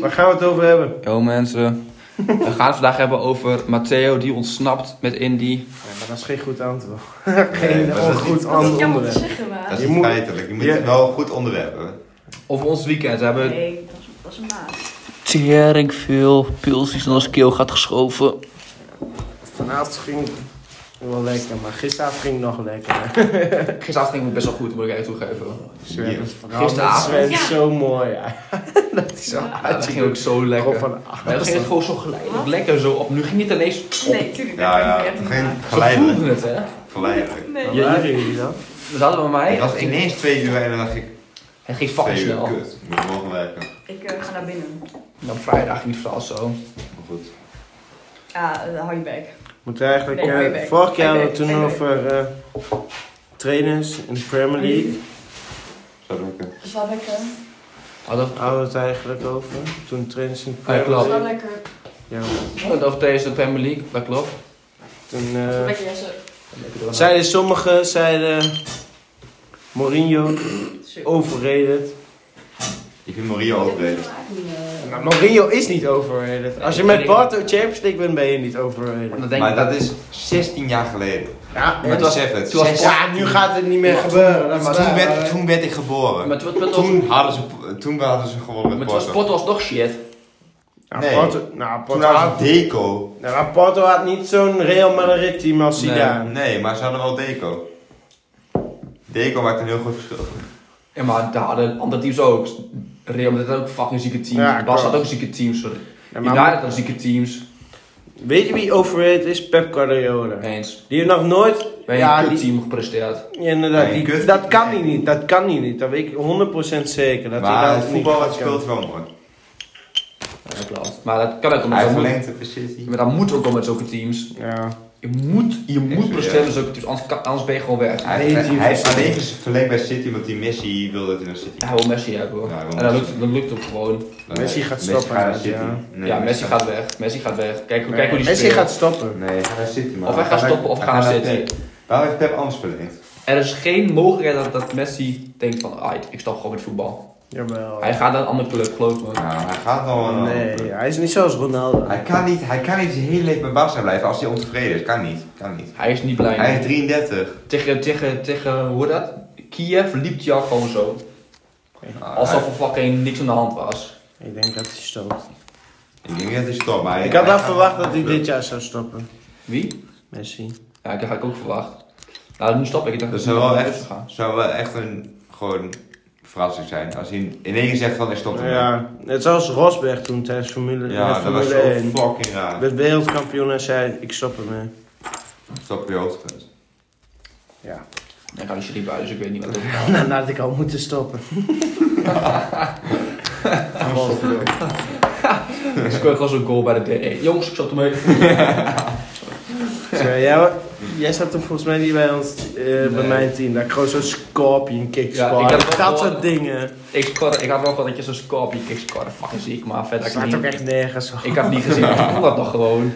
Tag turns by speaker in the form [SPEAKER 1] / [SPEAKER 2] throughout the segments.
[SPEAKER 1] Waar gaan we het over hebben?
[SPEAKER 2] Yo mensen, we gaan het vandaag hebben over Matteo die ontsnapt met Indy.
[SPEAKER 1] Ja, maar dat is geen goed antwoord.
[SPEAKER 3] Nee,
[SPEAKER 1] Geen
[SPEAKER 3] maar dat is
[SPEAKER 1] ongoed
[SPEAKER 3] niet-
[SPEAKER 4] Dat
[SPEAKER 1] ander
[SPEAKER 4] kan het
[SPEAKER 1] onderwerp.
[SPEAKER 3] Dat
[SPEAKER 4] zeggen, maar.
[SPEAKER 3] is
[SPEAKER 1] Je
[SPEAKER 3] niet
[SPEAKER 1] moet-
[SPEAKER 3] feitelijk. Je moet
[SPEAKER 1] je-
[SPEAKER 3] wel een goed onderwerp hebben.
[SPEAKER 2] Over ons weekend. We hebben
[SPEAKER 4] Nee, dat is, dat is een maat.
[SPEAKER 5] tering veel pulsies naar de keel gaat geschoven.
[SPEAKER 1] Vanavond ging het wel lekker, maar gisteravond ging het nog lekker.
[SPEAKER 2] gisteravond ging het best wel goed, moet ik even toegeven.
[SPEAKER 1] Zwemmen.
[SPEAKER 3] Yes.
[SPEAKER 1] Gisteravond
[SPEAKER 2] Gisteravond.
[SPEAKER 1] Sven
[SPEAKER 4] Ja.
[SPEAKER 1] zo mooi. Ja. dat is zo
[SPEAKER 4] Ja,
[SPEAKER 2] Ja, dat ging ook zo
[SPEAKER 1] Gewoon
[SPEAKER 2] lekker.
[SPEAKER 1] van
[SPEAKER 2] Maar dat ging het gewoon zo geleidelijk lekker zo op. Nu ging het ineens op.
[SPEAKER 4] Nee, tuurlijk.
[SPEAKER 3] Ja,
[SPEAKER 4] dat
[SPEAKER 3] ja.
[SPEAKER 4] kan
[SPEAKER 3] Het
[SPEAKER 4] niet
[SPEAKER 3] ging
[SPEAKER 4] echt niet
[SPEAKER 2] Ze
[SPEAKER 3] geleidelijk.
[SPEAKER 2] voelden het hè.
[SPEAKER 3] Geleidelijk.
[SPEAKER 4] maken. Nee.
[SPEAKER 1] Waar waren jullie dan?
[SPEAKER 2] Dat hadden we bij mij.
[SPEAKER 3] Het was ineens twee uur en dan dacht ik,
[SPEAKER 2] Het ging fucking
[SPEAKER 3] twee uur,
[SPEAKER 2] snel.
[SPEAKER 3] kut. Ik moet morgen werken.
[SPEAKER 4] Ik eh, ga naar binnen.
[SPEAKER 2] En op vrijdag ging het vooral zo.
[SPEAKER 3] Maar goed.
[SPEAKER 4] Ja, eh, hou je bek.
[SPEAKER 1] Moet eigenlijk.
[SPEAKER 4] Nee,
[SPEAKER 1] eh,
[SPEAKER 4] nee, nee.
[SPEAKER 1] vorig jaar
[SPEAKER 4] Nee,
[SPEAKER 1] hadden we het
[SPEAKER 4] nee,
[SPEAKER 1] toen
[SPEAKER 4] nee.
[SPEAKER 1] over eh, trainers in de Premier League.
[SPEAKER 3] Zou lukken.
[SPEAKER 4] Slaap lekker.
[SPEAKER 2] Hadden we
[SPEAKER 1] Hadden we het eigenlijk over? Toen trainers in de
[SPEAKER 2] Ja,
[SPEAKER 1] Premier
[SPEAKER 2] klopt.
[SPEAKER 4] Slaap
[SPEAKER 1] League.
[SPEAKER 4] lekker.
[SPEAKER 1] Ja,
[SPEAKER 2] het over deze Premier League, dat klopt.
[SPEAKER 1] toen
[SPEAKER 4] Slaap
[SPEAKER 1] eh
[SPEAKER 4] lekker, Jesse.
[SPEAKER 2] Lekker door.
[SPEAKER 1] zeiden sommigen, zeiden Mourinho
[SPEAKER 3] Oh,
[SPEAKER 4] Super.
[SPEAKER 1] overrated.
[SPEAKER 3] Ik vind Maria overleden.
[SPEAKER 4] eh.
[SPEAKER 1] Nou, Maar Mourinho is niet overrated. Als je met Porto Champions League bent, ben je niet eh, overrated.
[SPEAKER 2] Dan denk
[SPEAKER 3] Maar
[SPEAKER 2] ik dat
[SPEAKER 3] dat is 16 jaar geleden.
[SPEAKER 1] Ja,
[SPEAKER 2] maar het was-
[SPEAKER 3] Besef het.
[SPEAKER 2] toen was-
[SPEAKER 3] 16
[SPEAKER 1] ja nu gaat het niet meer gebeuren. Dat is
[SPEAKER 3] toen,
[SPEAKER 1] waar, eh.
[SPEAKER 3] werd,
[SPEAKER 1] maar-
[SPEAKER 3] toen werd ik geboren.
[SPEAKER 2] Maar toen, toen,
[SPEAKER 3] Toen hadden ze, toen hadden ze gewonnen
[SPEAKER 2] maar
[SPEAKER 3] met
[SPEAKER 2] toen was
[SPEAKER 3] Porto.
[SPEAKER 2] Porto alsnog shit.
[SPEAKER 1] Ja,
[SPEAKER 3] Nee.
[SPEAKER 1] Porto, nou,
[SPEAKER 3] Toen
[SPEAKER 1] Porto
[SPEAKER 3] hadden
[SPEAKER 1] had,
[SPEAKER 3] ze Deco.
[SPEAKER 1] nou, maar Porto had niet zo'n Real Madrid team als
[SPEAKER 2] Nee.
[SPEAKER 1] Zidane.
[SPEAKER 3] Nee, maar ze hadden wel Deco. Deco maakt een heel goed verschil.
[SPEAKER 2] Ja, maar daar hadden andere teams ook. Real Madrid had ook fucking zieke teams.
[SPEAKER 1] Ja,
[SPEAKER 2] Bas had
[SPEAKER 1] klopt.
[SPEAKER 2] ook zieke teams. Sorry.
[SPEAKER 1] Ja, maar-
[SPEAKER 2] United had zieke teams.
[SPEAKER 1] Weet je wie overrated is? Pep Guardiola.
[SPEAKER 2] Eens.
[SPEAKER 1] Die heeft nog nooit...
[SPEAKER 2] Bij
[SPEAKER 1] ja,
[SPEAKER 2] een
[SPEAKER 1] die-
[SPEAKER 2] team gepresteerd.
[SPEAKER 1] ja, inderdaad.
[SPEAKER 3] Bij een
[SPEAKER 1] die-
[SPEAKER 3] kut-
[SPEAKER 1] dat kan hij
[SPEAKER 3] Nee.
[SPEAKER 1] niet. Dat kan hij niet. Dat weet ik 100% zeker. Dat hij
[SPEAKER 3] Maar
[SPEAKER 1] daar
[SPEAKER 3] het voetbal
[SPEAKER 1] voetbal
[SPEAKER 3] het
[SPEAKER 1] kan.
[SPEAKER 3] speelt wel mooi.
[SPEAKER 2] Ja, dat klopt. Maar dat kan ook omdat
[SPEAKER 3] Hij
[SPEAKER 2] dat moet-
[SPEAKER 3] verlengt het precies niet.
[SPEAKER 2] Maar dat moet ook al met zulke teams.
[SPEAKER 1] Ja.
[SPEAKER 2] Je moet, je moet
[SPEAKER 3] zo,
[SPEAKER 2] presteren
[SPEAKER 3] ja.
[SPEAKER 2] met zulke teams, anders, kan- anders ben je gewoon weg.
[SPEAKER 3] Hij,
[SPEAKER 1] Nee,
[SPEAKER 3] hij,
[SPEAKER 1] die-
[SPEAKER 3] hij heeft alleen verlengd bij City omdat die Messi wilde dat in de City.
[SPEAKER 2] Hij wil Messi hebben.
[SPEAKER 3] Ja, hij wil
[SPEAKER 2] en dat
[SPEAKER 3] Messi.
[SPEAKER 2] lukt, dat lukt ook gewoon.
[SPEAKER 3] Dan-
[SPEAKER 1] Messi gaat stoppen,
[SPEAKER 3] gaat naar
[SPEAKER 1] ja.
[SPEAKER 3] City. Nee,
[SPEAKER 2] ja, Messi gaat weg. Messi gaat weg. Kijk, hoe- kijk hoe die
[SPEAKER 1] Messi
[SPEAKER 2] speelt.
[SPEAKER 1] gaat stoppen.
[SPEAKER 3] Nee, hij gaat naar City. man.
[SPEAKER 2] Of hij gaat stoppen of
[SPEAKER 3] hij
[SPEAKER 2] gaat naar
[SPEAKER 3] Pep.
[SPEAKER 2] City.
[SPEAKER 3] Waarom heeft Pep anders verlengd?
[SPEAKER 2] Er is geen mogelijkheid dat, dat Messi denkt van, ah, ik stop gewoon met voetbal.
[SPEAKER 1] Jawel.
[SPEAKER 2] Hij gaat naar een andere club, geloof me.
[SPEAKER 3] Nou, hij gaat nog wel.
[SPEAKER 1] Nee, hij is niet zoals Ronaldo.
[SPEAKER 3] Hij kan niet, hij kan niet zijn hele leven bij Barca blijven als hij ontevreden is. Kan niet, kan niet.
[SPEAKER 2] Hij is niet blij.
[SPEAKER 3] Hij is 33.
[SPEAKER 2] Tegen, tegen, tegen, hoe heet dat? Kiev liep hij al gewoon zo.
[SPEAKER 3] Nou,
[SPEAKER 2] Alsof
[SPEAKER 3] hij-
[SPEAKER 2] er fucking niks aan de hand was.
[SPEAKER 1] Ik denk dat hij stopt.
[SPEAKER 3] Ik denk dat hij stopt, maar hij-
[SPEAKER 1] Ik had
[SPEAKER 3] hij
[SPEAKER 1] wel
[SPEAKER 3] gaat-
[SPEAKER 1] verwacht dat hij dit jaar zou stoppen.
[SPEAKER 2] Wie?
[SPEAKER 1] Messi.
[SPEAKER 2] Ja, dat had ik ook verwacht. Nou, nu stop ik. Ik dacht
[SPEAKER 3] Dat
[SPEAKER 2] hij
[SPEAKER 3] zou wel
[SPEAKER 2] naar huis
[SPEAKER 3] echt,
[SPEAKER 2] zou gaan.
[SPEAKER 3] zou wel echt een gewoon verrassing zijn. Als hij in één keer zegt van ik stop ermee.
[SPEAKER 1] Nou Ja, net zoals Rosberg toen tijdens Formule,
[SPEAKER 3] Ja,
[SPEAKER 1] met
[SPEAKER 3] dat was
[SPEAKER 1] Formule
[SPEAKER 3] zo
[SPEAKER 1] 1.
[SPEAKER 3] fucking raar.
[SPEAKER 1] Werd wereldkampioen en zei ik stop ermee.
[SPEAKER 3] Stop je hoogtepunt.
[SPEAKER 1] Ja.
[SPEAKER 2] Dan kan hij Sherry buiten, dus ik weet niet wat het is.
[SPEAKER 1] Dan had Nou, ik al moeten stoppen.
[SPEAKER 2] Ik scoor gewoon zo'n goal bij de D1. Jongens, ik zat ermee.
[SPEAKER 1] Zo, jij, wa- jij zat toen volgens mij niet bij ons, eh, bij mijn team. Dat ik gewoon zo'n scorpion kick
[SPEAKER 2] Ja,
[SPEAKER 1] scoorde.
[SPEAKER 2] ik heb wel
[SPEAKER 1] Dat
[SPEAKER 2] gehoord.
[SPEAKER 1] soort dingen.
[SPEAKER 2] Ik, scoorde, ik had wel gewoon dat je zo'n scorpion kick scoorde. Fucking ziek, maar verder
[SPEAKER 1] Dat
[SPEAKER 2] had ik
[SPEAKER 1] slaat ook
[SPEAKER 2] niet.
[SPEAKER 1] echt nergens op.
[SPEAKER 2] Ik had niet gezien, ik kon dat nog gewoon.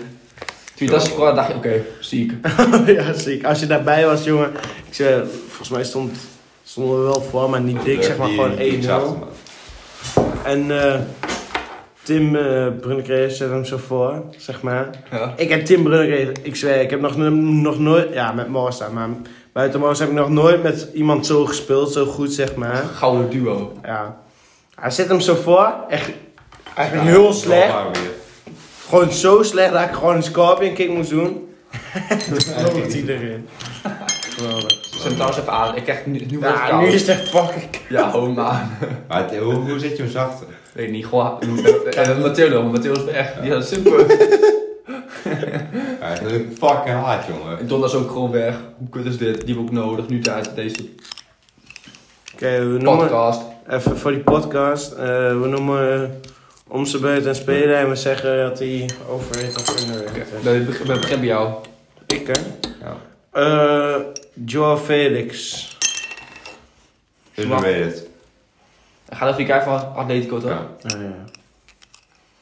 [SPEAKER 2] Toen je dat scoorde, dacht je, oké, ziek.
[SPEAKER 1] ja, ziek. Als je daarbij was, jongen. Ik zei, volgens mij stond, stonden we wel voor, maar niet dik. Zeg maar
[SPEAKER 3] Die-
[SPEAKER 1] gewoon
[SPEAKER 3] die
[SPEAKER 1] 1-0.
[SPEAKER 3] zachte man.
[SPEAKER 1] En eh, Tim eh Brunnekreeg zet hem zo voor, zeg maar.
[SPEAKER 2] Ja.
[SPEAKER 1] Ik heb Tim Brunnekreeg, ik zweer, ik heb nog, n- nog nooit, ja, met Mors dan, maar buiten Mors heb ik nog nooit met iemand zo gespeeld, zo goed, zeg maar.
[SPEAKER 2] Gouden duo.
[SPEAKER 1] Ja. Hij zet hem zo voor, echt, eigenlijk
[SPEAKER 3] Ja,
[SPEAKER 1] heel
[SPEAKER 3] dat is wel
[SPEAKER 1] slecht.
[SPEAKER 3] waar weer.
[SPEAKER 1] Gewoon zo slecht dat ik gewoon een scorpion kick moest doen. Toen loopt hij erin. Geweldig.
[SPEAKER 2] Zet hem trouwens even aan, ik krijg nu, nu wordt het
[SPEAKER 1] Ja, nu
[SPEAKER 2] koud.
[SPEAKER 1] is het echt fucking
[SPEAKER 2] Ja, ho man.
[SPEAKER 3] Maar het- hoe, hoe zit je hem zachter?
[SPEAKER 2] Weet niet, gewoon... En Matteo dan, Matteo is weg. Die had het simpel.
[SPEAKER 3] Ja, het is een fucking hard, jongen.
[SPEAKER 2] En Don is ook gewoon weg. Hoe kut is dit? Die heb ik ook nodig, nu tijdens deze
[SPEAKER 1] Oké, we noemen...
[SPEAKER 2] podcast.
[SPEAKER 1] Even voor die podcast. eh, we noemen om zijn beurt een speler en we zeggen dat hij overheet of
[SPEAKER 2] Oké,
[SPEAKER 1] underrated is.
[SPEAKER 2] we beg- we beginnen bij jou.
[SPEAKER 1] Ik hè?
[SPEAKER 3] Ja.
[SPEAKER 1] Eh, Joao Felix.
[SPEAKER 3] Dus
[SPEAKER 2] Zwak.
[SPEAKER 3] nu weet je het.
[SPEAKER 2] Ga even kijken van Atletico toch?
[SPEAKER 3] Ja.
[SPEAKER 1] Oh, ja.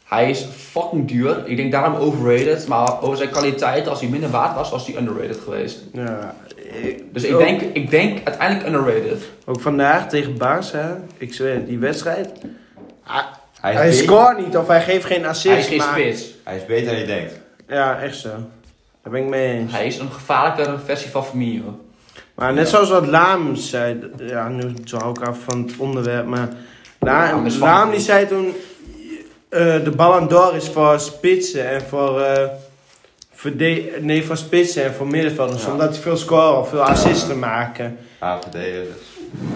[SPEAKER 2] Hij is fucking duur. Ik denk daarom overrated. Maar over zijn kwaliteit, als hij minder waard was, was hij underrated geweest.
[SPEAKER 1] ja. ik-
[SPEAKER 2] Dus ik
[SPEAKER 1] ook-
[SPEAKER 2] denk, ik denk uiteindelijk underrated.
[SPEAKER 1] Ook vandaag tegen Barca, ik zweer, die wedstrijd. Ah,
[SPEAKER 3] Hij is,
[SPEAKER 1] Hij
[SPEAKER 3] beter-
[SPEAKER 1] scoort niet of hij geeft geen assist.
[SPEAKER 2] Hij is geen
[SPEAKER 1] maar-
[SPEAKER 2] spits.
[SPEAKER 3] hij is beter dan je denkt.
[SPEAKER 1] Ja, echt zo. Daar ben ik mee eens.
[SPEAKER 2] Hij is een gevaarlijkere versie van Firmino.
[SPEAKER 1] Maar net zoals wat Laam zei, d- ja, nu dwaal ik af van het onderwerp, maar
[SPEAKER 2] Ja,
[SPEAKER 1] Laam,
[SPEAKER 2] maar zwak.
[SPEAKER 1] Laam die zei toen, eh, de Ballon d'Or is voor spitsen en voor, eh, verde- nee, voor spitsen en voor middenvelders,
[SPEAKER 2] Ja.
[SPEAKER 1] omdat die veel scoren of veel assisten maken.
[SPEAKER 3] Ah, AVD-ers.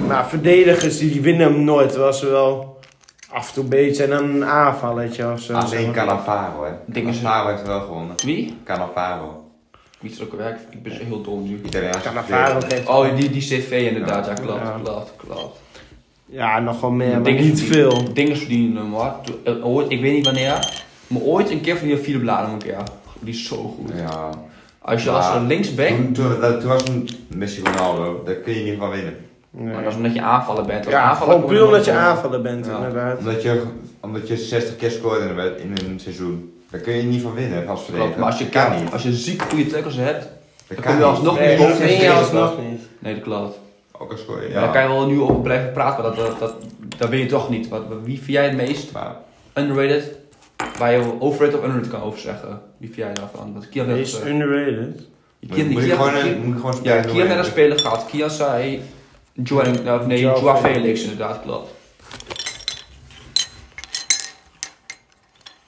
[SPEAKER 1] Maar verdedigers, die, die winnen hem nooit, terwijl ze wel af en toe beter zijn dan een aanvalletje of zo.
[SPEAKER 2] Ah,
[SPEAKER 3] Alleen Cannavaro, hè.
[SPEAKER 2] Dingen ze-
[SPEAKER 3] Cannavaro heeft wel gewonnen.
[SPEAKER 2] Wie?
[SPEAKER 3] Cannavaro.
[SPEAKER 2] Wie is ook werk? Ik ben zo heel dom nu.
[SPEAKER 3] Italiaans.
[SPEAKER 1] Cannavaro geeft-
[SPEAKER 2] Oh, die, die CV inderdaad. Ja, klopt,
[SPEAKER 1] Ja.
[SPEAKER 2] klopt, klopt.
[SPEAKER 1] Ja, nogal meer, maar
[SPEAKER 2] Dingen
[SPEAKER 1] niet
[SPEAKER 2] verdienen-
[SPEAKER 1] veel.
[SPEAKER 2] Dingen verdienen hem, hoor. Toen- eh, ooit- Ik weet niet wanneer, maar ooit een keer verdiende Philip Lahm een keer. Die is zo goed.
[SPEAKER 3] Ja.
[SPEAKER 2] Als je als
[SPEAKER 3] Ja.
[SPEAKER 2] een linksback,
[SPEAKER 3] Toen, toen, dat- toen was een Messi Ronaldo. Daar kun je niet van winnen.
[SPEAKER 1] Nee.
[SPEAKER 2] maar dat is omdat je aanvallen bent. Als
[SPEAKER 1] Ja,
[SPEAKER 2] aanvaller
[SPEAKER 1] gewoon
[SPEAKER 2] kom je
[SPEAKER 1] puur
[SPEAKER 2] nooit
[SPEAKER 1] omdat je
[SPEAKER 2] op.
[SPEAKER 1] aanvaller bent,
[SPEAKER 2] Ja.
[SPEAKER 1] inderdaad.
[SPEAKER 3] Omdat je, omdat je 60 keer scoort in een, wed- in een seizoen. Daar kun je niet van winnen
[SPEAKER 2] Klopt,
[SPEAKER 3] als verdediger.
[SPEAKER 2] maar als je,
[SPEAKER 3] Dat kan niet.
[SPEAKER 2] als je ziek goede tackles hebt,
[SPEAKER 3] Dat
[SPEAKER 2] dan
[SPEAKER 3] kan
[SPEAKER 2] kun je
[SPEAKER 3] niet.
[SPEAKER 2] alsnog
[SPEAKER 1] Nee,
[SPEAKER 2] niet
[SPEAKER 1] dat
[SPEAKER 2] op-
[SPEAKER 1] vind je
[SPEAKER 3] Ja.
[SPEAKER 1] alsnog niet.
[SPEAKER 2] Nee, dat klopt.
[SPEAKER 3] Ook als scoren,
[SPEAKER 2] Maar Daar
[SPEAKER 3] ja.
[SPEAKER 2] kan je wel nu over blijven praten, maar dat, dat, dat, dat wil je toch niet. Wat, wie vind jij het meest
[SPEAKER 3] Maar
[SPEAKER 2] underrated, waar je overrated of underrated kan over zeggen? Wie vind jij daarvan? Want Kian
[SPEAKER 1] Hij
[SPEAKER 2] heeft...
[SPEAKER 1] is
[SPEAKER 2] eh,
[SPEAKER 1] underrated.
[SPEAKER 2] Kian-
[SPEAKER 3] moet je moet je
[SPEAKER 2] Kian-
[SPEAKER 3] gewoon een-
[SPEAKER 2] Kian-
[SPEAKER 3] moet je gewoon
[SPEAKER 2] Ja,
[SPEAKER 3] spelen.
[SPEAKER 2] Kian werd een speler gehad. Kian zei... Joan, of nee,
[SPEAKER 1] Joao
[SPEAKER 2] Joao
[SPEAKER 1] Felix.
[SPEAKER 2] Felix inderdaad, klopt.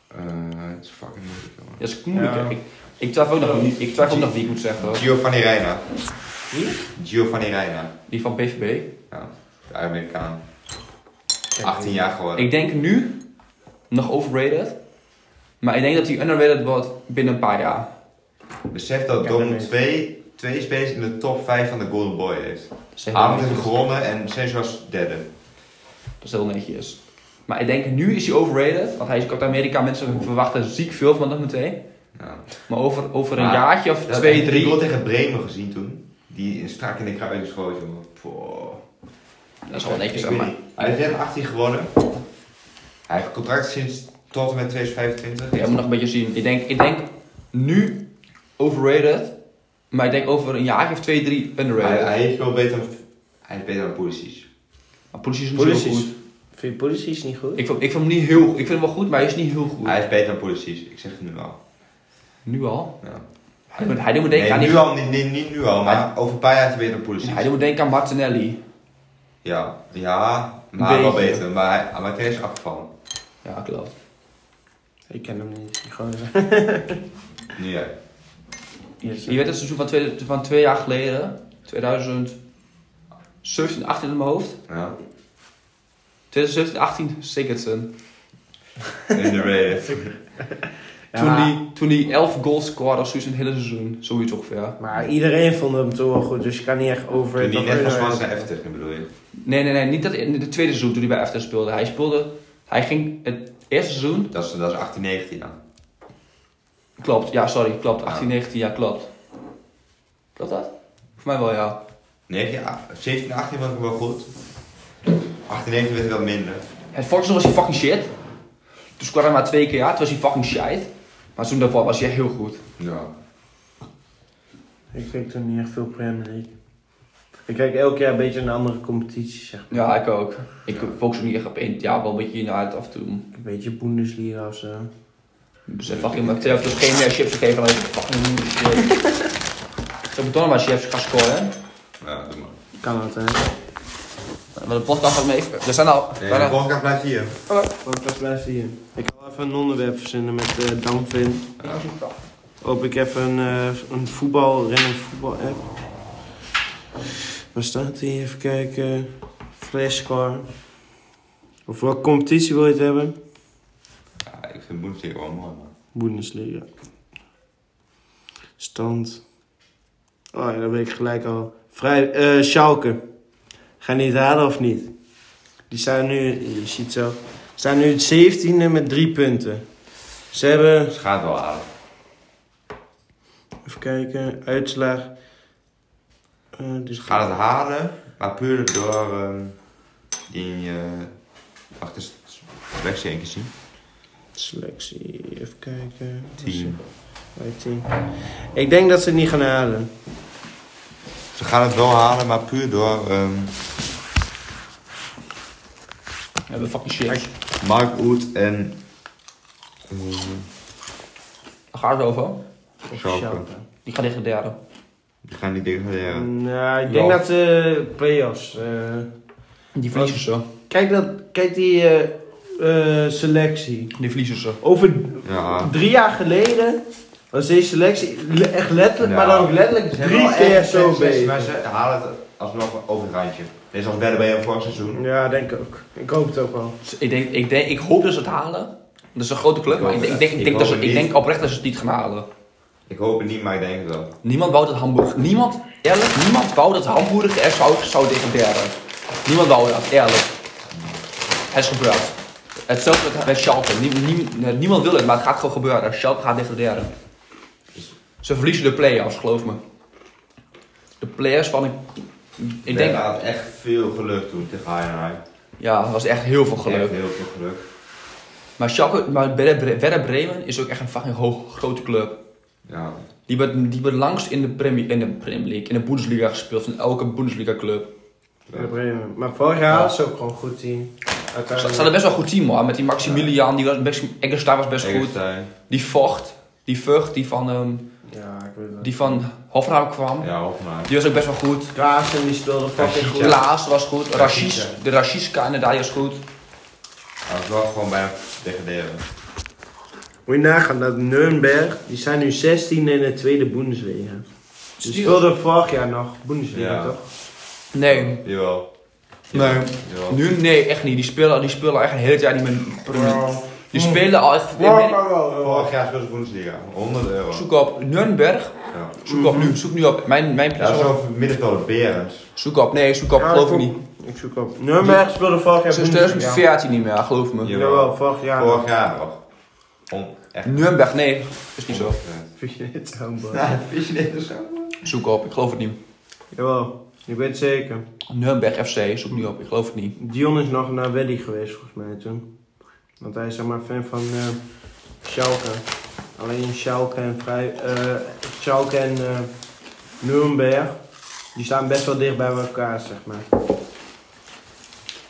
[SPEAKER 3] Eh, Het is fucking moeilijk, jongen.
[SPEAKER 2] Dat is moeilijk.
[SPEAKER 1] Ja.
[SPEAKER 2] hè. Ik, ik twijfel ook nog, niet- ik twijfel ook nog wie ik moet zeggen. hoor.
[SPEAKER 3] Giovanni Reina.
[SPEAKER 1] Wie?
[SPEAKER 3] Giovanni Reina.
[SPEAKER 2] Die van BVB.
[SPEAKER 3] Ja, de Amerikaan. 18 jaar geworden.
[SPEAKER 2] Ik denk nu nog overrated. Maar ik denk dat hij underrated wordt binnen een paar jaar.
[SPEAKER 3] Besef dat
[SPEAKER 1] Ja,
[SPEAKER 3] Dortmund
[SPEAKER 1] dat
[SPEAKER 3] twee, twee spelers in de top 5 van de Golden Boy heeft.
[SPEAKER 2] Zeg maar
[SPEAKER 3] Arnold heeft
[SPEAKER 2] niet.
[SPEAKER 3] hem gewonnen en Sergio was derde.
[SPEAKER 2] Dat is heel netjes. Maar ik denk nu is hij overrated. Want hij is uit Amerika. Mensen verwachten ziek veel van dat meteen.
[SPEAKER 3] Ja.
[SPEAKER 2] Maar over, over een
[SPEAKER 3] Maar
[SPEAKER 2] jaartje of
[SPEAKER 3] Dat
[SPEAKER 2] twee,
[SPEAKER 3] heb ik
[SPEAKER 2] drie.
[SPEAKER 3] die goal tegen Bremen gezien toen. Die is strak in de kruis schoot, jongen. Poh.
[SPEAKER 2] Dat is wel Oh, netjes. hè,
[SPEAKER 3] Ik weet
[SPEAKER 2] maar
[SPEAKER 3] niet. Hij heeft net 18 gewonnen. Hij heeft contract sinds tot en met 2025.
[SPEAKER 2] Ja, moet nog een beetje zien. Ik denk, ik denk nu overrated. Maar ik denk over een jaartje of twee, drie
[SPEAKER 3] hij,
[SPEAKER 2] underrated.
[SPEAKER 3] hij heeft wel beter, hij is beter dan Pulisic.
[SPEAKER 2] Maar politie is niet zo
[SPEAKER 1] Polities.
[SPEAKER 2] goed.
[SPEAKER 1] Vind je polities niet goed?
[SPEAKER 2] Ik vind, ik vind hem niet heel Ik vind hem wel goed, maar hij is niet heel goed.
[SPEAKER 3] Hij is beter dan Pulisic, ik zeg het nu al.
[SPEAKER 2] Nu al.
[SPEAKER 3] Ja.
[SPEAKER 2] Hij doet, hij doet me denken
[SPEAKER 3] Nee,
[SPEAKER 2] aan
[SPEAKER 3] nu
[SPEAKER 2] die-
[SPEAKER 3] al, niet, niet, niet nu al, maar over een paar jaar is hij beter dan Pulisic.
[SPEAKER 2] Hij doet me denken aan Martinelli.
[SPEAKER 3] Ja, ja, maar wel
[SPEAKER 2] Beetje.
[SPEAKER 3] beter. Maar hij- maar hij is afgevallen.
[SPEAKER 2] Ja, klopt.
[SPEAKER 1] Ik ken hem niet. die gozer.
[SPEAKER 3] Nu ja.
[SPEAKER 1] Yes.
[SPEAKER 2] Je weet het seizoen van twee, van twee jaar geleden, 2017, 18 in mijn hoofd.
[SPEAKER 3] ja.
[SPEAKER 2] 2017, 18, Sigurdsson.
[SPEAKER 3] Underrated.
[SPEAKER 1] Ja,
[SPEAKER 2] Toen
[SPEAKER 1] maar-
[SPEAKER 2] die- Toen hij 11 goals scoorde of zoiets in het hele seizoen. Zoiets ongeveer.
[SPEAKER 1] Maar iedereen vond hem toch wel goed, dus je kan niet echt over.
[SPEAKER 3] Toen
[SPEAKER 1] het
[SPEAKER 3] die
[SPEAKER 1] of
[SPEAKER 3] net van
[SPEAKER 1] under-
[SPEAKER 3] Swansea naar Everton ging, bedoel je?
[SPEAKER 2] Nee, nee, nee. Niet dat in het tweede seizoen toen hij bij Efton speelde. Hij speelde... Hij ging het eerste seizoen...
[SPEAKER 3] Dat is, dat is 18, 19 dan.
[SPEAKER 2] Klopt, ja, sorry. Klopt. 18, 19, ja, klopt. Klopt dat? Voor mij wel, ja.
[SPEAKER 3] 19, ah, 17, 18 was ik wel goed. 18, 19 werd hij wel minder.
[SPEAKER 2] Het volgende was hij fucking shit. Toen scoorde hij maar twee keer, ja. Toen was hij fucking shit. Maar toen daarvoor was hij heel goed.
[SPEAKER 3] Ja.
[SPEAKER 1] Ik kijk toen niet echt veel Premier League. Ik kijk elk jaar een beetje naar andere competities, zeg maar.
[SPEAKER 2] Ja, ik ook. Ik focus ook niet echt op één. Ja, wel een beetje naar het af en toe.
[SPEAKER 1] Een beetje Bundesliga of zo.
[SPEAKER 2] Dus eh, fucking Mateo heeft dus geen meer chips gegeven, alleen fucking moeder shit. Ik moet toch nog maar chips gaan scoren.
[SPEAKER 3] Ja, doe maar.
[SPEAKER 1] Kan dat, hè?
[SPEAKER 2] Maar de podcast gaat me even... Er zijn al...
[SPEAKER 3] Nee,
[SPEAKER 2] bijna-
[SPEAKER 3] de podcast blijft hier.
[SPEAKER 1] Wat dat blijft hier. Ik ga even een onderwerp verzinnen met eh Danvin. Open ik even een, eh, een voetbal, random voetbal app. Waar staat die? Even kijken. Flashcar. Of welke competitie wil je het hebben?
[SPEAKER 3] Ja, ik vind Bundesliga wel mooi, man.
[SPEAKER 1] Bundesliga. Stand. Oh ja, dat weet ik gelijk al. Vrij, eh Schalke. Ga je het halen of niet? Die staan nu, je ziet zo. Staan nu 17e met drie punten. Ze hebben
[SPEAKER 3] Ze gaat wel halen.
[SPEAKER 1] Even kijken, uitslag. Eh, dus
[SPEAKER 3] Ze gaat het halen, maar puur door ehm die... eh wacht eens, selectie één keer zien.
[SPEAKER 1] Selectie, even kijken.
[SPEAKER 3] Team.
[SPEAKER 1] Bij team. Ik denk dat ze het niet gaan halen.
[SPEAKER 3] Ze gaan het wel halen, maar puur door... ehm
[SPEAKER 2] We hebben fucking chips.
[SPEAKER 3] Mark Oet en eh,
[SPEAKER 2] Daar gaat het over.
[SPEAKER 3] Schalke.
[SPEAKER 2] Die gaat tegen de derde.
[SPEAKER 3] Die gaan niet degraderen.
[SPEAKER 1] Nou, ik denk
[SPEAKER 2] Ja.
[SPEAKER 1] dat de play-offs. eh,
[SPEAKER 2] Die verliezen ze.
[SPEAKER 1] kijk, dat, kijk die eh, eh, selectie.
[SPEAKER 2] Die verliezen ze.
[SPEAKER 1] Over
[SPEAKER 3] Ja,
[SPEAKER 1] drie jaar geleden was deze selectie le- echt letterlijk,
[SPEAKER 3] Nou,
[SPEAKER 1] maar dan ook letterlijk dus
[SPEAKER 3] Ze hebben
[SPEAKER 1] drie
[SPEAKER 3] wel
[SPEAKER 1] keer
[SPEAKER 3] echt
[SPEAKER 1] zo
[SPEAKER 3] succes,
[SPEAKER 1] bezig.
[SPEAKER 3] Maar ze halen het alsnog over het randje. Dit is als werden bij hem vorig seizoen.
[SPEAKER 1] Ja, denk ik ook. Ik hoop het ook wel.
[SPEAKER 2] Dus ik, denk, ik, denk, ik hoop dat ze het halen. Dat is een grote club,
[SPEAKER 3] Ik
[SPEAKER 2] maar ik
[SPEAKER 3] hoop
[SPEAKER 2] denk, ik
[SPEAKER 3] het.
[SPEAKER 2] denk, ik
[SPEAKER 3] Ik
[SPEAKER 2] denk, dat ze,
[SPEAKER 3] hoop het
[SPEAKER 2] ik
[SPEAKER 3] niet.
[SPEAKER 2] denk oprecht dat ze het niet gaan halen.
[SPEAKER 3] Ik hoop het niet, maar ik denk het wel.
[SPEAKER 2] Niemand wou dat Hamburg. Niemand, eerlijk, niemand wou dat Hamburg de SV zou degraderen. Niemand wou dat, eerlijk. Het is gebeurd. Hetzelfde met- met Schalke. Nie- nie- niemand wil het, maar het gaat gewoon gebeuren. Schalke gaat degraderen. Ze verliezen de play-offs, geloof me. De players van een... Ik
[SPEAKER 3] We
[SPEAKER 2] denk...
[SPEAKER 3] hadden echt veel geluk toen tegen Heidenheim.
[SPEAKER 2] Ja, het was echt heel veel geluk.
[SPEAKER 3] Echt heel veel geluk.
[SPEAKER 2] Maar Schalke... Maar Werder Werder Bremen is ook echt een fucking hoog, grote club.
[SPEAKER 3] Ja,
[SPEAKER 2] Die wordt die wordt langst in de Premier, in de Premier League, in de Bundesliga gespeeld van elke Bundesliga club.
[SPEAKER 1] Werder Bremen. Maar vorig jaar hadden ze ook gewoon goed team.
[SPEAKER 2] Ze
[SPEAKER 1] Uiteindelijk.
[SPEAKER 2] hadden best wel een goed team hoor, met die Maximilian, die was best, Eggestein was best goed.
[SPEAKER 3] Eggestein.
[SPEAKER 2] Die vocht, die Vught, die van, ehm,
[SPEAKER 1] Ja, ik weet het.
[SPEAKER 2] die van Hoffenheim kwam,
[SPEAKER 3] Ja, Hoffenheim.
[SPEAKER 2] die was ook best wel goed.
[SPEAKER 1] Klaassen die speelde fucking goed.
[SPEAKER 2] Klaas was goed, Rashid,
[SPEAKER 1] Rashica.
[SPEAKER 2] de Rashica inderdaad, die was goed.
[SPEAKER 3] Hij was wel gewoon bijna degraderen.
[SPEAKER 1] Moet je nagaan dat Nürnberg, die zijn nu 16 in de tweede Bundesliga. Ze
[SPEAKER 2] Stuur.
[SPEAKER 1] speelden vorig jaar nog Bundesliga,
[SPEAKER 3] Ja.
[SPEAKER 1] toch?
[SPEAKER 2] Nee,
[SPEAKER 3] Jawel.
[SPEAKER 2] Nee.
[SPEAKER 3] Jawel.
[SPEAKER 2] nu nee, echt niet. Die spelen, die spelen echt een hele tijd niet meer. Premier- Die spelen al echt.
[SPEAKER 3] Vorig jaar speelde ze Bundesliga. 100 euro.
[SPEAKER 2] Zoek op Nürnberg,
[SPEAKER 3] Ja.
[SPEAKER 2] zoek op nu, zoek nu op mijn, mijn
[SPEAKER 3] Dat is
[SPEAKER 2] persoon.
[SPEAKER 3] zo'n middenvelder Berends.
[SPEAKER 2] Zoek op, nee, zoek op,
[SPEAKER 1] Ja,
[SPEAKER 2] geloof
[SPEAKER 1] ik
[SPEAKER 2] ik
[SPEAKER 1] ook.
[SPEAKER 2] niet.
[SPEAKER 1] Ik zoek op. Nürnberg speelde vorig jaar
[SPEAKER 2] Sinds
[SPEAKER 1] Bundesliga.
[SPEAKER 2] 2014 niet meer, geloof me.
[SPEAKER 3] Ja.
[SPEAKER 1] Jawel, vorig jaar.
[SPEAKER 3] Vorig jaar nog. Om echt.
[SPEAKER 2] Nürnberg, nee, is niet zo.
[SPEAKER 1] Vind je dit zo, bro?
[SPEAKER 3] Vind je dit zo?
[SPEAKER 2] Zoek op, ik geloof het niet.
[SPEAKER 1] Jawel, ik weet het zeker.
[SPEAKER 2] Nürnberg FC, zoek niet op, ik geloof het niet.
[SPEAKER 1] Dion is nog naar Weddy geweest, volgens mij, toen. Want hij is zeg maar fan van eh Schalke. Alleen Schalke en, Vrij, eh, Schalke en eh, Nuremberg, die staan best wel dicht bij elkaar, zeg maar.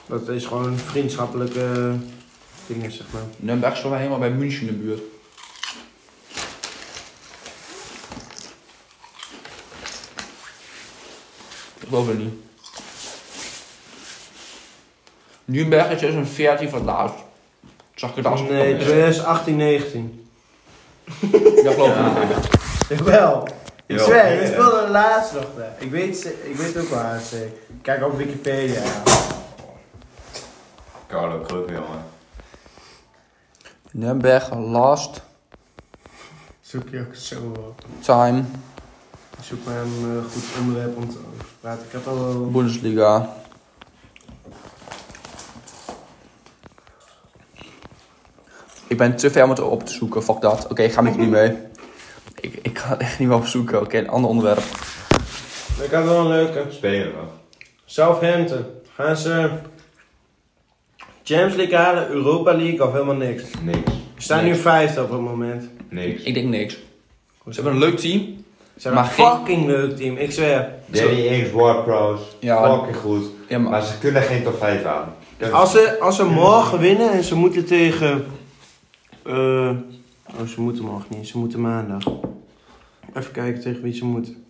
[SPEAKER 1] Dat is gewoon vriendschappelijke eh, dingen, zeg maar.
[SPEAKER 2] Nürnberg is voor mij helemaal bij München in de buurt. Ik geloof het niet. Nürnberg is 2014 van laatst. Zag ik het als
[SPEAKER 1] Nee, 2018, 19.
[SPEAKER 2] Dat geloof ik niet.
[SPEAKER 1] Jawel. Ik
[SPEAKER 3] Jawel.
[SPEAKER 1] zweer, we speelden laatst nog daar. Ik weet, ze- ik weet ook wel HC. Kijk op Wikipedia.
[SPEAKER 3] Carlo Krupp, jongen.
[SPEAKER 2] Nürnberg last
[SPEAKER 1] Zoek je ook zo op.
[SPEAKER 2] time
[SPEAKER 1] Ik zoek maar een eh, goed onderwerp om te over te praten. Ik heb al wel...
[SPEAKER 2] Bundesliga. Ik ben te ver om het op te zoeken, fuck dat. Oké, ik ga met jullie mee. Ik, ik ga het echt niet meer opzoeken, oké, een ander onderwerp.
[SPEAKER 1] Ik had wel een leuke.
[SPEAKER 3] Spelen nog.
[SPEAKER 1] Southampton. Gaan ze Champions League halen, Europa League of helemaal niks?
[SPEAKER 3] Niks.
[SPEAKER 1] Ze staan nu vijfde op het moment.
[SPEAKER 3] Niks.
[SPEAKER 2] Ik denk niks. Ze hebben een leuk team.
[SPEAKER 1] Ze zijn een
[SPEAKER 2] Maar geen-
[SPEAKER 1] fucking leuk team, ik zweer.
[SPEAKER 3] Danny Ings, Warpros.
[SPEAKER 2] Ja.
[SPEAKER 3] Fucking goed.
[SPEAKER 2] Ja, maar
[SPEAKER 3] Maar ze kunnen geen top 5 aan. Dat
[SPEAKER 1] Als ze, als ze morgen winnen en ze moeten tegen... eh, oh, ze moeten morgen niet, ze moeten maandag. Even kijken tegen wie ze moeten.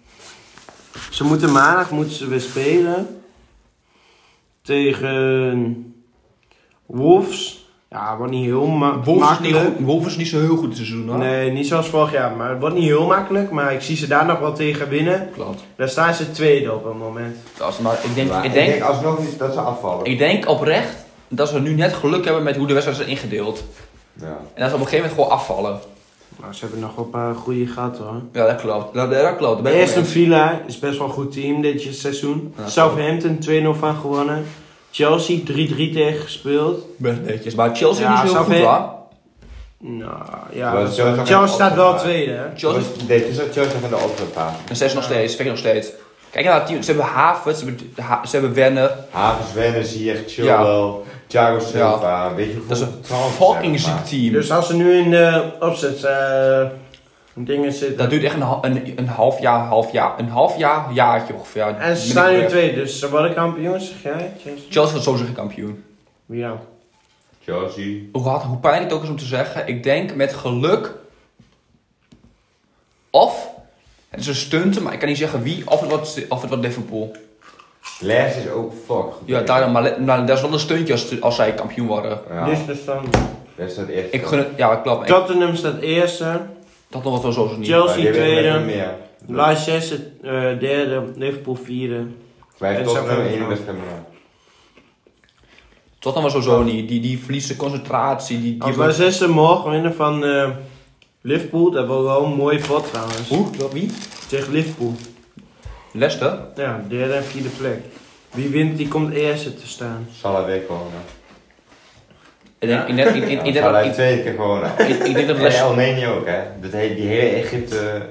[SPEAKER 1] Ze moeten maandag moeten ze weer spelen. Tegen Wolves. Ja, wordt niet heel ma
[SPEAKER 2] Wolves is, niet
[SPEAKER 1] makkelijk.
[SPEAKER 2] goed. Wolves is niet zo heel goed dit seizoen, hoor.
[SPEAKER 1] Nee, niet zoals vorig jaar. Maar het wordt niet heel makkelijk. Maar ik zie ze daar nog wel tegen winnen.
[SPEAKER 2] Klopt.
[SPEAKER 1] Daar staan ze tweede op het moment.
[SPEAKER 2] Dat is- maar ik denk,
[SPEAKER 3] Maar
[SPEAKER 2] ik, denk,
[SPEAKER 3] alsnog niet dat ze afvallen.
[SPEAKER 2] ik denk oprecht dat ze nu net geluk hebben met hoe de wedstrijd is ingedeeld.
[SPEAKER 3] Ja.
[SPEAKER 2] En dat ze op een gegeven moment gewoon afvallen.
[SPEAKER 1] Maar Nou, ze hebben nog wel een paar goede gehad hoor.
[SPEAKER 2] Ja, dat klopt. Dat, dat klopt. Dat ben ik
[SPEAKER 1] Eerst een
[SPEAKER 2] mee eens.
[SPEAKER 1] Villa is best wel een goed team dit seizoen.
[SPEAKER 2] Ja,
[SPEAKER 1] Southampton 2-0 van gewonnen. Chelsea 3-3 tegen gespeeld.
[SPEAKER 2] Best netjes. Maar Chelsea
[SPEAKER 1] Ja,
[SPEAKER 2] is niet zo heel goed,
[SPEAKER 1] Southampton-
[SPEAKER 2] hoor.
[SPEAKER 1] Nou ja,
[SPEAKER 3] Maar
[SPEAKER 1] Chelsea,
[SPEAKER 3] Chelsea gaat ook
[SPEAKER 1] staat
[SPEAKER 3] opstaan.
[SPEAKER 1] wel tweede. hè?
[SPEAKER 2] Chelsea
[SPEAKER 3] Dit is dat Chelsea in de opdrachtfase.
[SPEAKER 2] En ze is nog steeds, vind ik nog steeds. Kijk naar dat team, ze hebben Havertz, ze hebben, Ha- ze hebben Werner.
[SPEAKER 3] Havens, Werner, Ziyech, Chilwell, Thiago Silva. Weet je hoeveel
[SPEAKER 2] Dat is een
[SPEAKER 3] transfers
[SPEAKER 2] fucking
[SPEAKER 3] ze hebben
[SPEAKER 2] ziek
[SPEAKER 3] gemaakt?
[SPEAKER 2] team.
[SPEAKER 1] Dus als ze nu in de opzet eh, dingen zitten.
[SPEAKER 2] dat duurt echt een, ha- een, een half jaar, half jaar, een half jaar, jaartje ongeveer.
[SPEAKER 1] En ze
[SPEAKER 2] Minder
[SPEAKER 1] staan nu
[SPEAKER 2] weer.
[SPEAKER 1] tweede, dus ze worden kampioen, zeg jij? Chelsea?
[SPEAKER 2] Chelsea wordt sowieso geen kampioen.
[SPEAKER 1] Ja.
[SPEAKER 3] Chelsea.
[SPEAKER 2] hoe, hard, hoe pijnlijk het ook is om te zeggen, ik denk met geluk. Of, het is een stunten, maar ik kan niet zeggen wie, of het wordt, of het wordt Liverpool.
[SPEAKER 3] Les is ook fuck. goed.
[SPEAKER 2] Ja, daar, maar nou, dat is wel een stuntje als, als zij kampioen worden.
[SPEAKER 3] Ja,
[SPEAKER 1] Dus er staan...
[SPEAKER 3] Les staat echt.
[SPEAKER 2] Ik gun het, ja, klopt. Ik,
[SPEAKER 1] Tottenham staat eerste.
[SPEAKER 2] dat nog wat wel zo is het niet.
[SPEAKER 3] Maar
[SPEAKER 1] Chelsea
[SPEAKER 3] die winnen
[SPEAKER 1] tweede.
[SPEAKER 3] met meer.
[SPEAKER 1] Leicester eh, derde. Liverpool vierde.
[SPEAKER 3] Wij
[SPEAKER 1] En
[SPEAKER 3] hebben toch nog
[SPEAKER 1] Southampton.
[SPEAKER 3] één wedstrijd meer.
[SPEAKER 2] Tot dan was sowieso niet. Die, die verliest de concentratie. Die, die
[SPEAKER 1] Als Leicester morgen winnen van eh, Liverpool, dat wordt wel een mooie pot trouwens.
[SPEAKER 2] Hoe? Dat Wie?
[SPEAKER 1] Tegen Liverpool.
[SPEAKER 2] Leicester?
[SPEAKER 1] Ja, derde en vierde plek. Wie wint, die komt eerste te staan.
[SPEAKER 3] Salah weer gewonnen.
[SPEAKER 2] Ik denk- ik denk- ik- ik- ik denk
[SPEAKER 3] Salah
[SPEAKER 2] dat-
[SPEAKER 3] heeft
[SPEAKER 2] ik-
[SPEAKER 3] twee keer gewonnen.
[SPEAKER 2] ik- ik denk dat
[SPEAKER 3] En
[SPEAKER 2] Leicester...
[SPEAKER 3] El Neni ook, hè? Dat he- die hele Egypte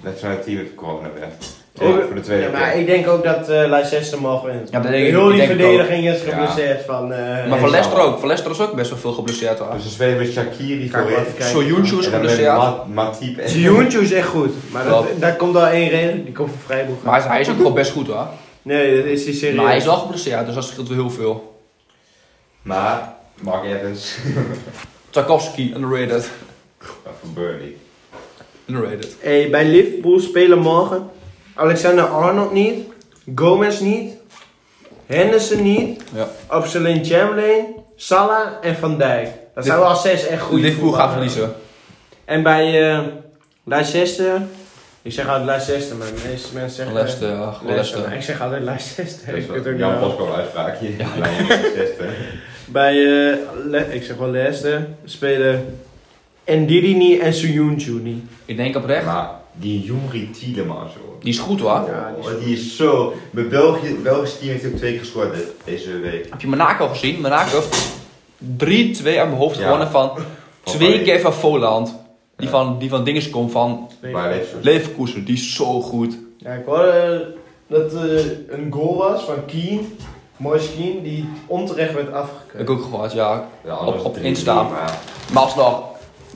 [SPEAKER 3] nationaliteit heeft gewonnen werd. Ja,
[SPEAKER 1] Ook-
[SPEAKER 3] voor de tweede
[SPEAKER 1] ja, maar
[SPEAKER 3] keer.
[SPEAKER 1] ik denk ook dat eh Leicester morgen wint.
[SPEAKER 2] Ja, dat denk ik-
[SPEAKER 1] Heel
[SPEAKER 2] ik
[SPEAKER 1] die
[SPEAKER 2] denk het
[SPEAKER 1] verdediging is
[SPEAKER 3] Ja.
[SPEAKER 1] geblesseerd van... eh
[SPEAKER 2] Maar
[SPEAKER 3] Nee,
[SPEAKER 2] voor Leicester
[SPEAKER 3] zou-
[SPEAKER 2] ook. Voor Leicester is ook best wel veel geblesseerd. hoor.
[SPEAKER 3] Dus ze spelen met Shakiri
[SPEAKER 1] Kan ik wel
[SPEAKER 3] voorin.
[SPEAKER 1] even kijken.
[SPEAKER 2] Soyuncu is
[SPEAKER 3] En dan met
[SPEAKER 2] geblesseerd.
[SPEAKER 3] Ma- Matip en...
[SPEAKER 1] Zijuntje is echt goed, maar dat,
[SPEAKER 2] Klopt.
[SPEAKER 1] daar komt al één reden, die komt van Vrijboeg.
[SPEAKER 2] Maar hij is ook wel best goed hoor.
[SPEAKER 1] Nee, dat is hij serieus.
[SPEAKER 2] Maar hij is wel geblesseerd, dus dat scheelt wel heel veel.
[SPEAKER 3] Maar, Mark Evans.
[SPEAKER 2] Tarkovsky, underrated.
[SPEAKER 3] Van Burnley.
[SPEAKER 2] Underrated.
[SPEAKER 1] Hey, bij Liverpool spelen morgen Alexander Arnold niet, Gomez niet, Henderson niet,
[SPEAKER 2] Ja.
[SPEAKER 1] Absalin Chamberlain, Salah en Van Dijk. Dat zijn
[SPEAKER 2] Liv-
[SPEAKER 1] wel zes echt goede
[SPEAKER 2] Liverpool gaat
[SPEAKER 1] voetballers.
[SPEAKER 2] verliezen.
[SPEAKER 1] En bij eh Leicester, ik zeg altijd Leicester, maar de meeste mensen zeggen
[SPEAKER 2] Leicester, ja, gewoon Leicester.
[SPEAKER 1] maar ik zeg altijd Leicester.
[SPEAKER 3] Dat is
[SPEAKER 1] ik weet het
[SPEAKER 3] wel
[SPEAKER 1] ook
[SPEAKER 3] Jan
[SPEAKER 2] nou-
[SPEAKER 1] niet wel.
[SPEAKER 3] Bosco uitspraakje. Bij de zesde.
[SPEAKER 1] Bij, eh, Le- ik zeg wel Leicester, spelen Ndidi niet en Soyuncu niet.
[SPEAKER 2] Ik denk oprecht.
[SPEAKER 3] Maar die Juri Tielemans, hoor.
[SPEAKER 2] Die is goed hoor.
[SPEAKER 1] Ja, die is
[SPEAKER 3] Oh, die is zo... Mijn België, Belgisch team heeft ook twee keer gescoord dit- deze week.
[SPEAKER 2] Heb je Monaco gezien? Monaco heeft 3-2 uit mijn hoofd
[SPEAKER 3] Ja.
[SPEAKER 2] gewonnen van twee
[SPEAKER 3] Bayern.
[SPEAKER 2] keer van Voland. Die
[SPEAKER 3] Ja.
[SPEAKER 2] van, die van dinges komt van
[SPEAKER 3] Maar hij heeft zo...
[SPEAKER 2] Leverkusen. Die is zo goed.
[SPEAKER 1] Ja, ik hoorde eh, dat er een goal was van Keen, Moise Keen, die onterecht werd afgekeurd.
[SPEAKER 2] Heb ik ook gehoord, ja.
[SPEAKER 3] Ja, anders
[SPEAKER 2] Op- op
[SPEAKER 3] drie,
[SPEAKER 2] Insta.
[SPEAKER 3] maar-
[SPEAKER 2] Maar alsnog,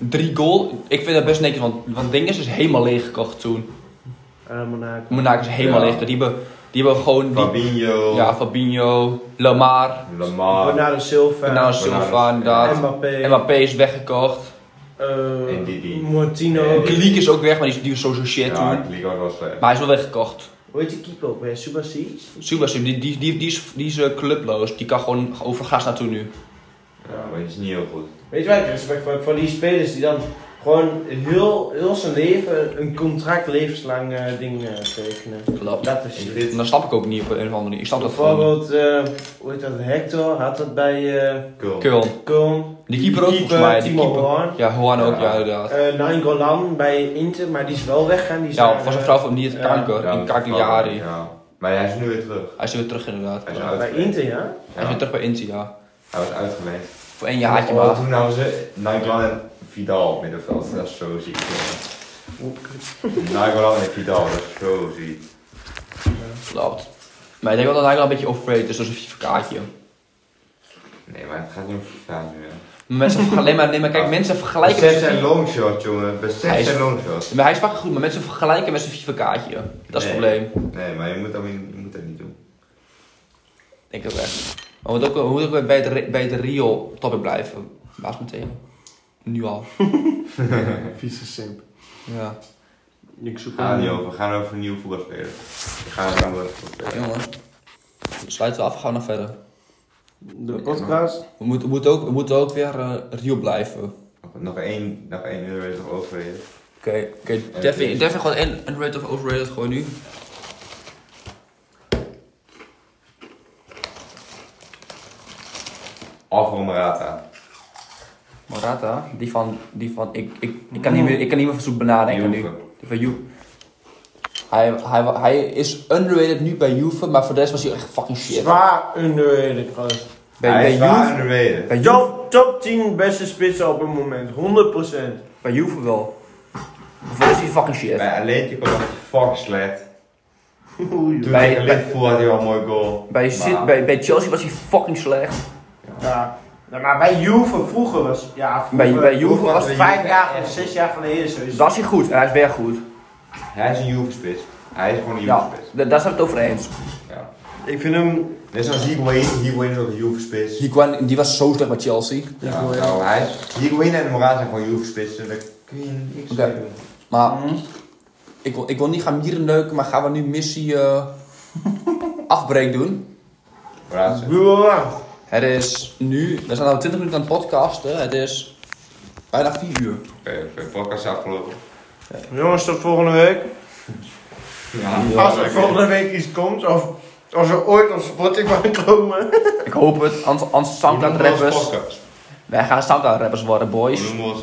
[SPEAKER 2] drie goal. Ik vind dat best netjes, want, want dinges is helemaal leeggekocht toen.
[SPEAKER 1] Ah, Monaco.
[SPEAKER 2] Monaco is helemaal
[SPEAKER 3] Ja.
[SPEAKER 2] leeg. Die hebben, die hebben gewoon... Die,
[SPEAKER 3] Fabinho.
[SPEAKER 2] ja, Fabinho, Lamar,
[SPEAKER 3] Lamar.
[SPEAKER 1] Bernardo Silva.
[SPEAKER 2] Bernardo
[SPEAKER 3] Bernardo.
[SPEAKER 2] Silva inderdaad.
[SPEAKER 1] Mbappé.
[SPEAKER 2] Mbappé is weggekocht.
[SPEAKER 1] eh,
[SPEAKER 3] Ndidi.
[SPEAKER 1] Martino.
[SPEAKER 3] Ndidi.
[SPEAKER 2] Kliek is ook weg, maar die is, die is sowieso shit
[SPEAKER 3] Ja,
[SPEAKER 2] toen.
[SPEAKER 3] ik liep ook wel slecht.
[SPEAKER 2] Maar hij is wel weggekocht.
[SPEAKER 1] Hoe heet die keeper ook weer? Subasic?
[SPEAKER 2] Subasic, die, die, die, die is, die is eh, clubloos. Die kan gewoon over gas naartoe nu.
[SPEAKER 3] Ja, maar die is niet heel goed.
[SPEAKER 1] Weet je waar ik respect voor heb? Voor die spelers die dan gewoon heel, heel zijn leven een contract levenslang eh, ding eh, tekenen.
[SPEAKER 2] Klopt.
[SPEAKER 1] Dat is shit.
[SPEAKER 2] En dan snap ik ook niet op een of andere manier. Ik snap dat gewoon.
[SPEAKER 1] Bijvoorbeeld, eh, hoe heet dat? Hector had dat bij eh
[SPEAKER 3] Cool.
[SPEAKER 2] Köln.
[SPEAKER 1] Köln.
[SPEAKER 2] Die keeper ook volgens mij. Die
[SPEAKER 1] Timo
[SPEAKER 2] keeper.
[SPEAKER 1] Horn.
[SPEAKER 2] Ja, Juan ook,
[SPEAKER 3] Ja.
[SPEAKER 2] ja, inderdaad.
[SPEAKER 1] eh Nainggolan bij Inter, maar die is wel weggegaan. Die is
[SPEAKER 2] Ja,
[SPEAKER 1] naar,
[SPEAKER 2] was een
[SPEAKER 1] eh,
[SPEAKER 2] vrouw van niet het
[SPEAKER 1] ja.
[SPEAKER 2] kanker.
[SPEAKER 3] Ja,
[SPEAKER 2] in Cagliari.
[SPEAKER 3] Ja. Maar hij is nu weer terug.
[SPEAKER 2] Hij is weer terug, inderdaad.
[SPEAKER 3] Hij is
[SPEAKER 2] Hij
[SPEAKER 3] uit.
[SPEAKER 1] Bij Inter, ja?
[SPEAKER 2] is weer terug bij Inter, ja.
[SPEAKER 3] Hij was uitgeleend.
[SPEAKER 2] Voor één jaartje
[SPEAKER 3] Oh,
[SPEAKER 2] maar.
[SPEAKER 3] Toen namen ze Nigel en Vidal op middenveld. Dat is zo ziek. Nigel en Vidal, dat is zo ziek.
[SPEAKER 2] Klopt. Maar ik denk wel dat hij wel een beetje overrated is. Dat is een FIFA-kaartje.
[SPEAKER 3] Nee, maar het gaat niet om FIFA nu. hè.
[SPEAKER 2] Maar Mensen vergelijken... alleen maar, nee, maar kijk,
[SPEAKER 3] Ja.
[SPEAKER 2] mensen vergelijken...
[SPEAKER 3] Besef
[SPEAKER 2] met
[SPEAKER 3] zijn
[SPEAKER 2] zijn-
[SPEAKER 3] longshot, jongen. Besef
[SPEAKER 2] Hij is-
[SPEAKER 3] zijn longshot.
[SPEAKER 2] Maar hij is vaak goed, maar mensen vergelijken met zijn FIFA-kaartje. Dat is het
[SPEAKER 3] Nee.
[SPEAKER 2] probleem.
[SPEAKER 3] Nee, maar je moet dat, niet- je moet dat niet doen.
[SPEAKER 2] Ik denk ik echt. Maar we moeten ook, we moeten ook bij, het, re- bij het Rio topic blijven. Baas meteen. Nu al.
[SPEAKER 1] Vieze simp.
[SPEAKER 2] Ja.
[SPEAKER 1] Ik zoek
[SPEAKER 2] Ah,
[SPEAKER 3] Gaan we
[SPEAKER 1] hem.
[SPEAKER 3] niet over. We gaan over nieuw voetbal spelen. We gaan over nieuw voetbal spelen.
[SPEAKER 2] Jongen. We sluiten af, gaan we nog verder.
[SPEAKER 1] De podcast.
[SPEAKER 2] We moeten, we moeten, ook, we moeten ook weer eh, Rio blijven. Oké.
[SPEAKER 3] Nog- Nog één, nog één uur is nog over. hè.
[SPEAKER 2] Oké, Devin, Devin gewoon en underrated of overrated gewoon nu.
[SPEAKER 3] Alvaro Morata.
[SPEAKER 2] Morata, die van, die van ik, ik, ik, kan niet meer, ik kan niet meer verzoek benadenken nu.
[SPEAKER 3] Juve.
[SPEAKER 2] Die van Juve. Hij, hij, hij is underrated nu bij Juve, maar voor de rest was hij echt fucking shit. Bij,
[SPEAKER 1] Zwaar underrated, gast.
[SPEAKER 3] Hij
[SPEAKER 2] bij,
[SPEAKER 3] is zwaar
[SPEAKER 2] Juve,
[SPEAKER 3] underrated.
[SPEAKER 2] bij, Juve,
[SPEAKER 1] Top, top 10 beste spitsen op het moment. 100%.
[SPEAKER 2] bij Juve wel. Maar Voor de rest is hij fucking shit.
[SPEAKER 3] Bij Atletico was hij fuck slecht.
[SPEAKER 1] Oei.
[SPEAKER 3] Toen
[SPEAKER 2] Bij-
[SPEAKER 3] tegen
[SPEAKER 2] bij-
[SPEAKER 3] Liverpool had hij wel een mooi goal.
[SPEAKER 2] Bij, Cit-
[SPEAKER 3] Maar-
[SPEAKER 2] bij, bij Chelsea was hij fucking slecht.
[SPEAKER 1] Ja. Nou, maar bij Juve vroeger was... Ja, vroeger,
[SPEAKER 2] Bij- bij Juve was-
[SPEAKER 1] het vijf
[SPEAKER 3] bij
[SPEAKER 1] jaar
[SPEAKER 3] Juve
[SPEAKER 1] of
[SPEAKER 3] echt-
[SPEAKER 1] zes jaar geleden sowieso.
[SPEAKER 2] Was hij goed en hij is weer goed.
[SPEAKER 3] Hij is een Juve-spits. Hij is gewoon een
[SPEAKER 2] Ja,
[SPEAKER 3] Juve-spits.
[SPEAKER 2] d- daar zijn we het over eens.
[SPEAKER 3] Ja.
[SPEAKER 1] Ik vind hem
[SPEAKER 3] Net zoals Higuain. Higuain is ook een Juve-spits.
[SPEAKER 2] Higuain, die was zo slecht bij Chelsea.
[SPEAKER 3] Ja, nou, hij is... Higuain en Morata zijn gewoon Juve-spitsen. Daar kun je niks
[SPEAKER 2] Oké.
[SPEAKER 3] mee doen.
[SPEAKER 2] Maar ik, wil, ik wil niet gaan mieren neuken, maar gaan we nu missie eh afbreek doen?
[SPEAKER 3] Morata is-
[SPEAKER 2] Het is nu, we zijn al 20 minuten aan het podcasten. Het is bijna 4 uur.
[SPEAKER 3] Oké, oké. Podcast is afgelopen.
[SPEAKER 1] Jongens, tot volgende week.
[SPEAKER 3] Ja,
[SPEAKER 1] Als er volgende week iets komt, of als er ooit op Spotify komen.
[SPEAKER 2] Ik hoop het, anders anders Soundcloud rappers.
[SPEAKER 3] Podcast.
[SPEAKER 2] Wij gaan Soundcloud rappers worden, boys.
[SPEAKER 3] Noem ons